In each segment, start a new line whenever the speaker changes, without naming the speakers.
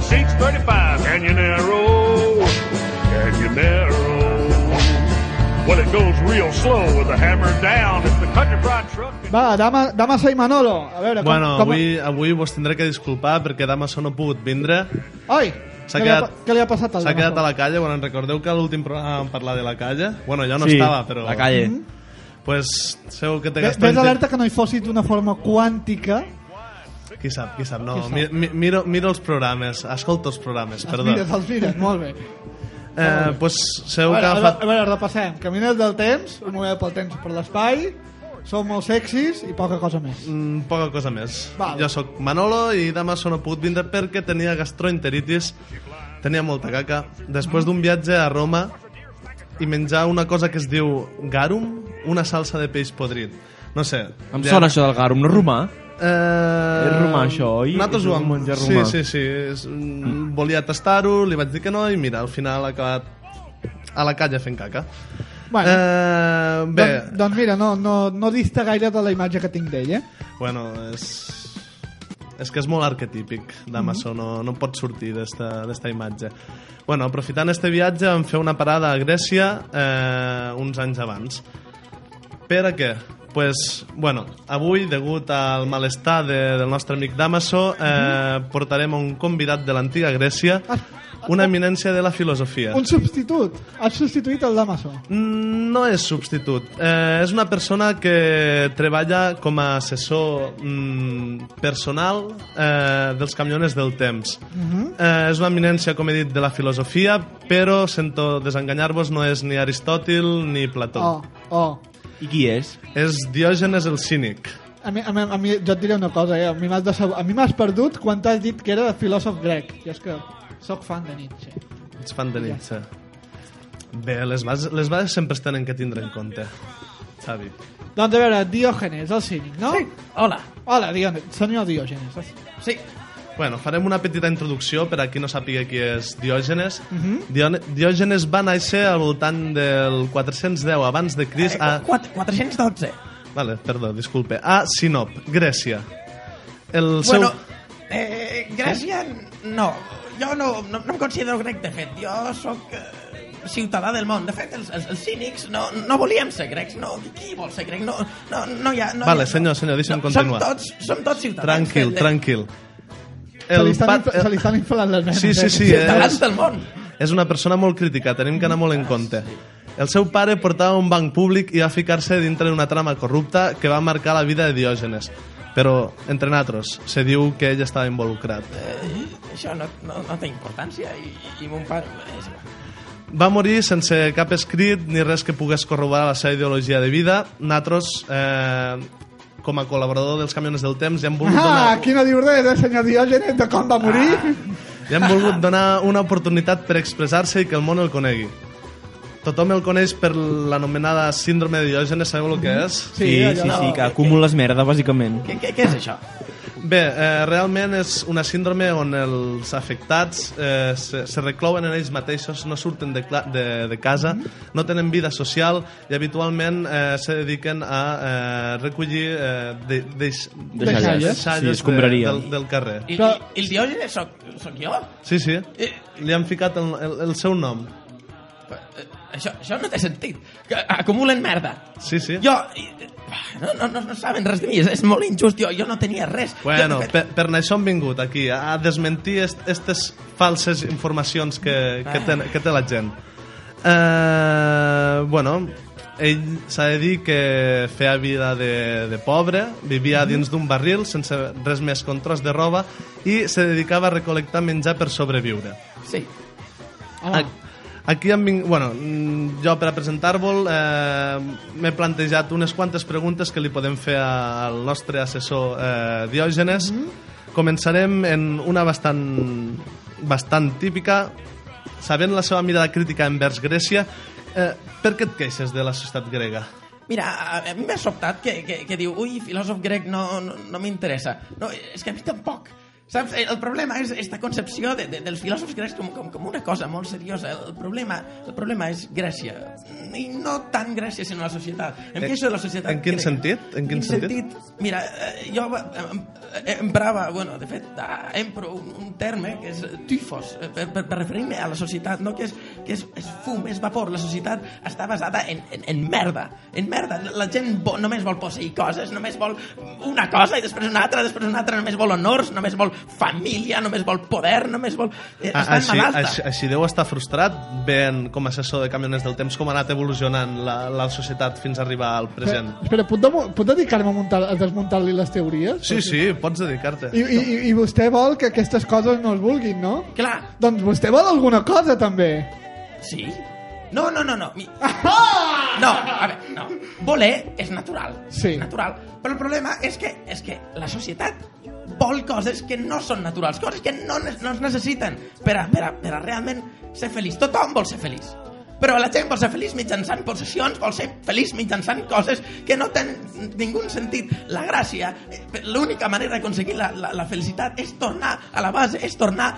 seats 35. Can you narrow? Can you narrow? Well, it goes real slow with the hammer down. It's the country fried truck.
Va, Dama, Damasa i Manolo. A veure, com,
Bueno,
com...
avui, avui vos tendré que disculpar perquè Damaso no ha pogut vindre.
Ai,
S'ha
què, li ha,
quedat-
pa- què li ha passat al
S'ha quedat a
Damaso?
la calle, bueno, en recordeu que a l'últim programa vam parlar de la calle? Bueno, jo no
Sí,
estava, però...
La calle.
Pues, seu que té
Ve-
gastat...
Ves alerta que no hi fossi d'una forma quàntica.
Qui sap, qui sap, no.
Qui sap?
Mi, mi, miro, miro els programes, escolto els programes,
Els
perdó.
mires, els mires, molt bé.
Eh, pues,
A
seu que
veure,
ha
a veure,
fet...
a veure, repassem. Caminers del temps, un moment pel temps per l'espai, som molt sexis i poca cosa més.
Mm, poca cosa més.
Val.
Jo sóc Manolo i Damaso no ha pogut vindre perquè tenia gastroenteritis, tenia molta caca. Després d'un viatge a Roma i menjar una cosa que es diu garum, una salsa de peix podrit. No sé.
Em sona això del garum, no romà?
Eh...
És romà, això, oi?
Nosaltres
És
ho
un
vam...
menjar
sí,
romà.
sí, sí. És... mm, Volia tastar-ho, li vaig dir que no i mira, al final ha acabat a la calle fent caca.
Bueno,
eh, bé,
doncs, doncs mira, no, no, no dista gaire de la imatge que tinc d'ell, eh?
Bueno, és... És que és molt arquetípic, Damaso, no, no pot sortir d'esta d'esta imatge. Bueno, aprofitant este viatge, vam fer una parada a Grècia eh, uns anys abans. Per a què? Pues, bueno, avui, degut al malestar de, del nostre amic Damaso, eh, portarem a un convidat de l'antiga Grècia, una eminència de la filosofia.
Un substitut. Has substituït el Damaso.
Mm, No és substitut. Eh, és una persona que treballa com a assessor mm, personal eh, dels camioners del temps. eh, és una eminència, com he dit, de la filosofia, però, sento desenganyar-vos, no és ni Aristòtil ni Plató.
Oh, oh.
I qui és?
És Diògenes el Cínic.
A mi, a mi, a mi, jo et diré una cosa, eh? a mi m'has deceb- a mi m'has perdut quan t'has dit que era filòsof grec. Jo és que sóc fan de Nietzsche.
Ets fan de Nietzsche. Bé, les bases, les bases sempre es tenen que tindre en compte, Xavi.
Doncs a veure, Diògenes, el cínic, no?
Hola.
Hola, Diògenes, senyor Diògenes.
Sí.
Bueno, farem una petita introducció per a qui no sàpiga qui és Diògenes.
Mhm.
Dione- Diògenes va néixer al voltant del 410 abans de Crist
Eh,
a...
412.
Vale, perdó, disculpe. A Sinop, Grècia. El seu...
Bueno, eh, Grècia, no. Jo no, no, no em considero grec, de fet. Jo sóc eh, ciutadà del món. De fet, els, els, els cínics no, no volíem ser grecs. No, qui vol ser grec? No, no, no hi ha... No
Vale,
hi ha,
senyor, senyor, deixa'm continuar.
Som tots, som tots ciutadans.
tranquil,
de- de-
tranquil.
El se, li estan,
pat-
pat... se li estan inflant les venes.
Sí, sí,
eh?
sí,
Ciutadans
és,
del món.
eh, és una persona molt crítica, tenim que anar molt en compte. El seu pare portava un banc públic i va ficar-se dintre d'una trama corrupta que va marcar la vida de Diògenes. Però, entre nosaltres, se diu que ell estava involucrat.
Això no, no, no té importància i, i mon pare... És... igual.
Va morir sense cap escrit ni res que pogués corroborar la seva ideologia de vida. Nosaltres, eh, com a col·laborador dels Camiones del Temps, ja hem volgut
Ah,
donar, Ah,
aquí no diu res, eh, senyor Diògenes, de com va morir.
ja hem volgut donar una oportunitat per expressar-se i que el món el conegui. Tothom el coneix per l'anomenada síndrome de Diògenes, sabeu el que és?
Sí, sí, sí,
allò-
sí que acumules merda, bàsicament.
Què, què, què és això?
Bé, eh, realment és una síndrome on els afectats eh, se, se reclouen en ells mateixos, no surten de, cla- de, de casa, no tenen vida social i habitualment eh, se dediquen a eh, recollir eh, de, deix,
Deixalles.
Sí,
deixalles de,
escombraria.
del, del carrer.
I,
Però-
i, i el Diògenes sóc, sóc jo? Eh,
Sí, sí.
I,
Li han ficat el, el, el seu nom.
Eh, Això, això no té sentit. Que acumulen merda.
Sí, sí.
Jo... eh, No, no, no, no saben res de mi, és, és molt injust. Jo, jo no tenia res.
Bueno,
Jo, de fet,
per, per això hem vingut aquí, a desmentir aquestes falses informacions que, que, ten, que té la gent. Eh, bueno, ell s'ha de dir que feia vida de, de pobre, vivia dins d'un barril sense res més que un tros de roba i se dedicava a recol·lectar menjar per sobreviure.
Sí. Ah.
Home,
Ac- Aquí hem vingut... Bueno, mm, jo per a presentar-vos eh, m'he plantejat unes quantes preguntes que li podem fer a- al nostre assessor eh, Diògenes.
Mm-hmm.
Començarem en una bastant, bastant típica. Sabent la seva mirada crítica envers Grècia, eh, per què et queixes de la societat grega?
Mira, a a mi m'ha sobtat que, que, que diu ui, filòsof grec no, no, no m'interessa. No, és que a mi tampoc. Saps? Eh, El problema és esta concepció de, de, dels filòsofs grecs com, com, com una cosa molt seriosa. El problema, el problema és Grècia. I no tant Grècia, sinó la societat. Em
Eh,
queixo de la societat
en quin
grega.
sentit? En quin sentit?
Mira, eh, jo va- em- eh, em- emprava, bueno, de fet, ah, empro un, un terme que és tifos, eh, per, per, per referir-me a la societat, no? que, és, que és, és fum, és vapor. La societat està basada en, en, en merda, en merda. La gent vo, només vol posseir coses, només vol una cosa i després una altra, després una altra, només vol honors, només vol família, només vol poder, només vol... Eh,
Ah,
està en
així,
malalta.
així, així deu estar frustrat veient com a assessor de Camioners del Temps com ha anat evolucionant la, la societat fins a arribar al present.
Espera, espera, puc, demo- puc dedicar-me a, muntar, a desmuntar-li les teories?
Sí, sí, pots dedicar-te.
I, i, i- I vostè vol que aquestes coses no es vulguin, no?
Clar,
Doncs vostè vol alguna cosa, també.
sí. No, no, no, no. Mi-
Ah!
No, a veure, no. Voler és natural.
Sí.
És Natural. Però el problema és que, és que la societat vol coses que no són naturals, coses que no, ne- no es necessiten per a, per, a, per a realment ser feliç. Tothom vol ser feliç. Però la gent vol ser feliç mitjançant possessions, vol ser feliç mitjançant coses que no tenen ningun sentit. La gràcia, eh, l'única manera d'aconseguir la, la, la felicitat és tornar a la base, és tornar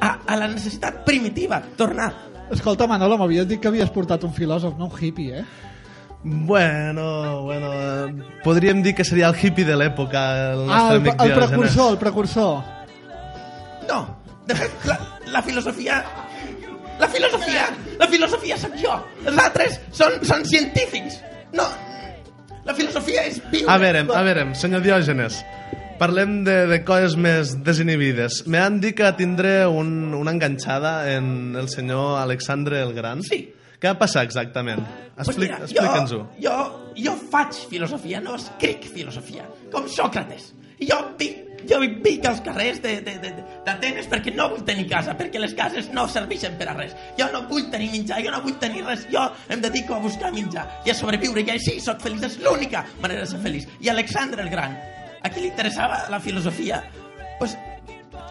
a, a la necessitat primitiva, tornar
Escolta, Manolo, m'havies dit que havies portat un filòsof, no un hippie, eh?
Bueno, bueno, eh, podríem dir que seria el hippie de l'època, el nostre
Ah, el,
amic
el
Diogenes.
precursor, el precursor.
No, de fet, la, la filosofia... La filosofia, la filosofia sóc jo. Els altres són, són científics. No, la filosofia és viure.
A veure, a veure, senyor Diògenes, parlem de, de coses més desinhibides. Me han dit que tindré un, una enganxada en el senyor Alexandre el Gran.
Sí.
Què va passar exactament?
Pues
Expli
mira, jo-
Explica'ns-ho.
Jo, jo faig filosofia, no escric filosofia, com Sòcrates. I Jo vic, jo vic als carrers de- de- de- d'Atenes perquè no vull tenir casa, perquè les cases no serveixen per a res. Jo no vull tenir menjar, jo no vull tenir res, jo em dedico a buscar menjar i a sobreviure, i així sóc feliç, és l'única manera de ser feliç. I Alexandre el Gran, a qui li interessava la filosofia, pues,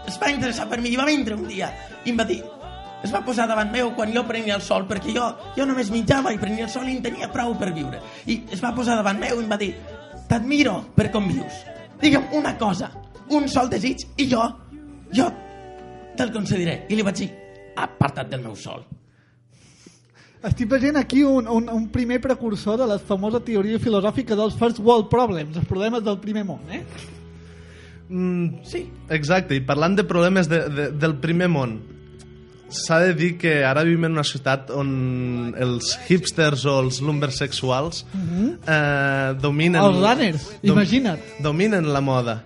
es va interessar per mi i va vindre un dia i em va dir es va posar davant meu quan jo prenia el sol perquè jo, jo només menjava i prenia el sol i en tenia prou per viure i es va posar davant meu i em va dir t'admiro per com vius digue'm una cosa, un sol desig i jo, jo te'l concediré i li vaig dir aparta't del meu sol
Estic veient aquí un, un, un primer precursor de la famosa teoria filosòfica dels first world problems, els problemes del primer món, eh?
Mm,
sí,
Exacte, i parlant de problemes de, de, del primer món, s'ha de dir que ara vivim en una ciutat on els hipsters o els lumbers sexuals eh, dominen...
Mhm. Els runners, imagina't.
Dominen la moda.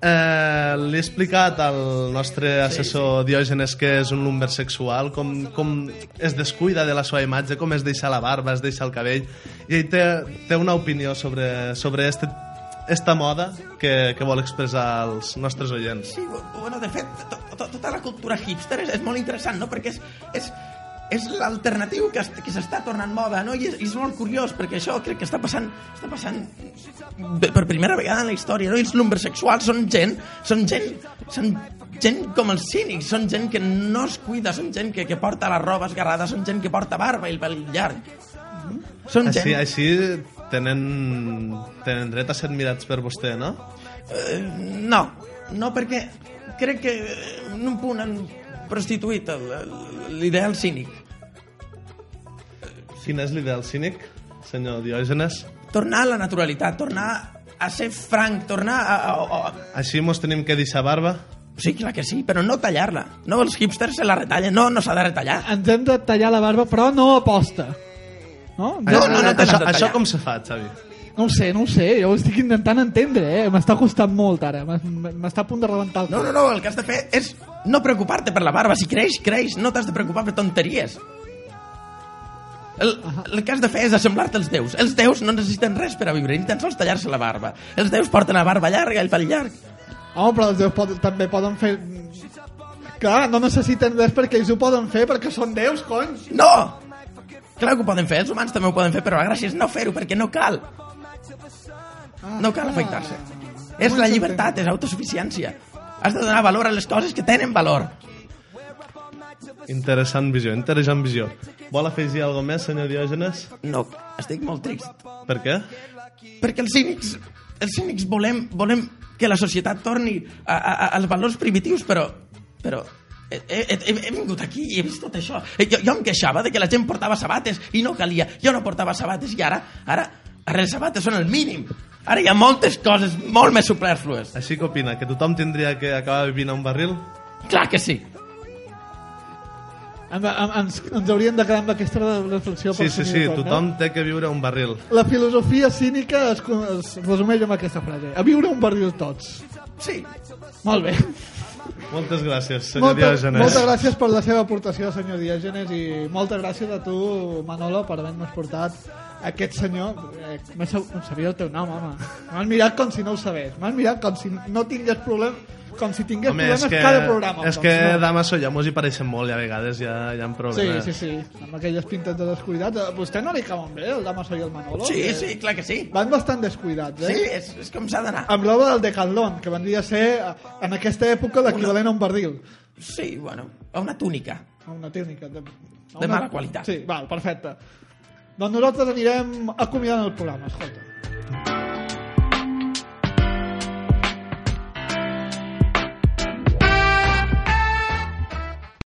Eh, L'he explicat al nostre assessor Diògenes que és un lumber sexual, com, com es descuida de la seva imatge, com es deixa la barba, es deixa el cabell, i ell té, té una opinió sobre, sobre este, esta moda que, que vol expressar als nostres oients.
Sí, bu- bueno, de fet, to, to, tota la cultura hipster és, és molt interessant, no? Perquè és, és, és l'alternatiu que, es- que s'està tornant moda, no? I és, i és molt curiós, perquè això crec que està passant, està passant bé, per primera vegada en la història, no? I els lumbersexuals són gent, són gent, són gent com els cínics, són gent que no es cuida, són gent que, que porta la roba esgarrada, són gent que porta barba i el vel llarg. Són gent...
Així, així tenen, tenen dret a ser admirats per vostè, no?
Eh, no, no perquè crec que eh, en un punt han prostituït el- el- l'ideal cínic.
Quin és l'ideal cínic, senyor Diògenes?
Tornar a la naturalitat, tornar a ser franc, tornar a... a, a...
Així mos tenim que deixar barba?
Sí, clar que sí, però no tallar-la. No, els hipsters se la retallen. No, no s'ha de retallar.
Ens hem de tallar la barba, però no aposta. No?
Ah,
No, no, no te l'has
això,
de tallar.
això com se fa, Xavi?
No ho sé, no ho sé, jo ho estic intentant entendre, eh? M'està costant molt ara, m'es- m'està a punt de rebentar el
No, no, no, el que has de fer és no preocupar-te per la barba. Si creix, creix. No t'has de preocupar per tonteries. El, el que has de fer és assemblar-te als déus. Els déus no necessiten res per a viure, ni tan sols tallar-se la barba. Els déus porten la barba llarga, el pèl llarg.
Home, però els déus pot, també poden fer... Clar, no necessiten res perquè ells ho poden fer, perquè són déus, cony!
No! Clar que ho poden fer, els humans també ho poden fer, però la gràcia és no fer-ho, perquè no cal. No cal afectar-se.
Ah.
És la llibertat, és autosuficiència. Has de donar valor a les coses que tenen valor.
Interessant visió, interessant visió. Vol afegir alguna més, senyor Diògenes?
No, estic molt trist.
Per què?
Perquè els cínics els cínics volem, volem que la societat torni a, a, a- als valors primitius, però, però he, he, he he vingut aquí i he vist tot això. Eh, Jo, jo em queixava de que la gent portava sabates i no calia. Jo no portava sabates i ara, ara, ara les sabates són el mínim. Ara hi ha moltes coses molt més superflues.
Així que opina, que tothom tindria que acabar vivint a un barril?
Clar que sí.
Em, em, ens, ens hauríem de quedar amb aquesta reflexió. per
Sí, sí,
fi
sí,
de tot, no?
tothom té que viure a un barril.
La filosofia cínica es, co- es resumeix amb aquesta frase. A viure un barril tots.
Sí.
Molt bé.
Moltes gràcies, senyor
Molta,
Diògenes.
moltes gràcies per la seva aportació, senyor Diògenes, i moltes gràcies a tu, Manolo, per haver-nos portat aquest senyor. Eh, no sab- no sabia el teu nom, home. M'has mirat com si no ho sabés. M'has mirat com si no tingués problema com si tingués
Home, és
problemes
que,
cada programa.
és
doncs,
que
no?
Damaso i Amos hi pareixen molt i a vegades hi ha, hi ha
Sí,
problemes.
sí, sí. Amb aquelles pintes de descuidats. A vostè no li cauen bé, el Damaso i el Manolo?
Sí,
Que
sí, clar que sí.
Van bastant descuidats, eh?
Sí, és, és com s'ha d'anar.
Amb roba del Decathlon, que vendria a ser, eh, en aquesta època, l'equivalent a un barril.
Sí, bueno, a una túnica.
A una tècnica. De, a
De
una-
mala qualitat.
Sí, val, perfecte. Doncs nosaltres anirem acomiadant el programa, escolta.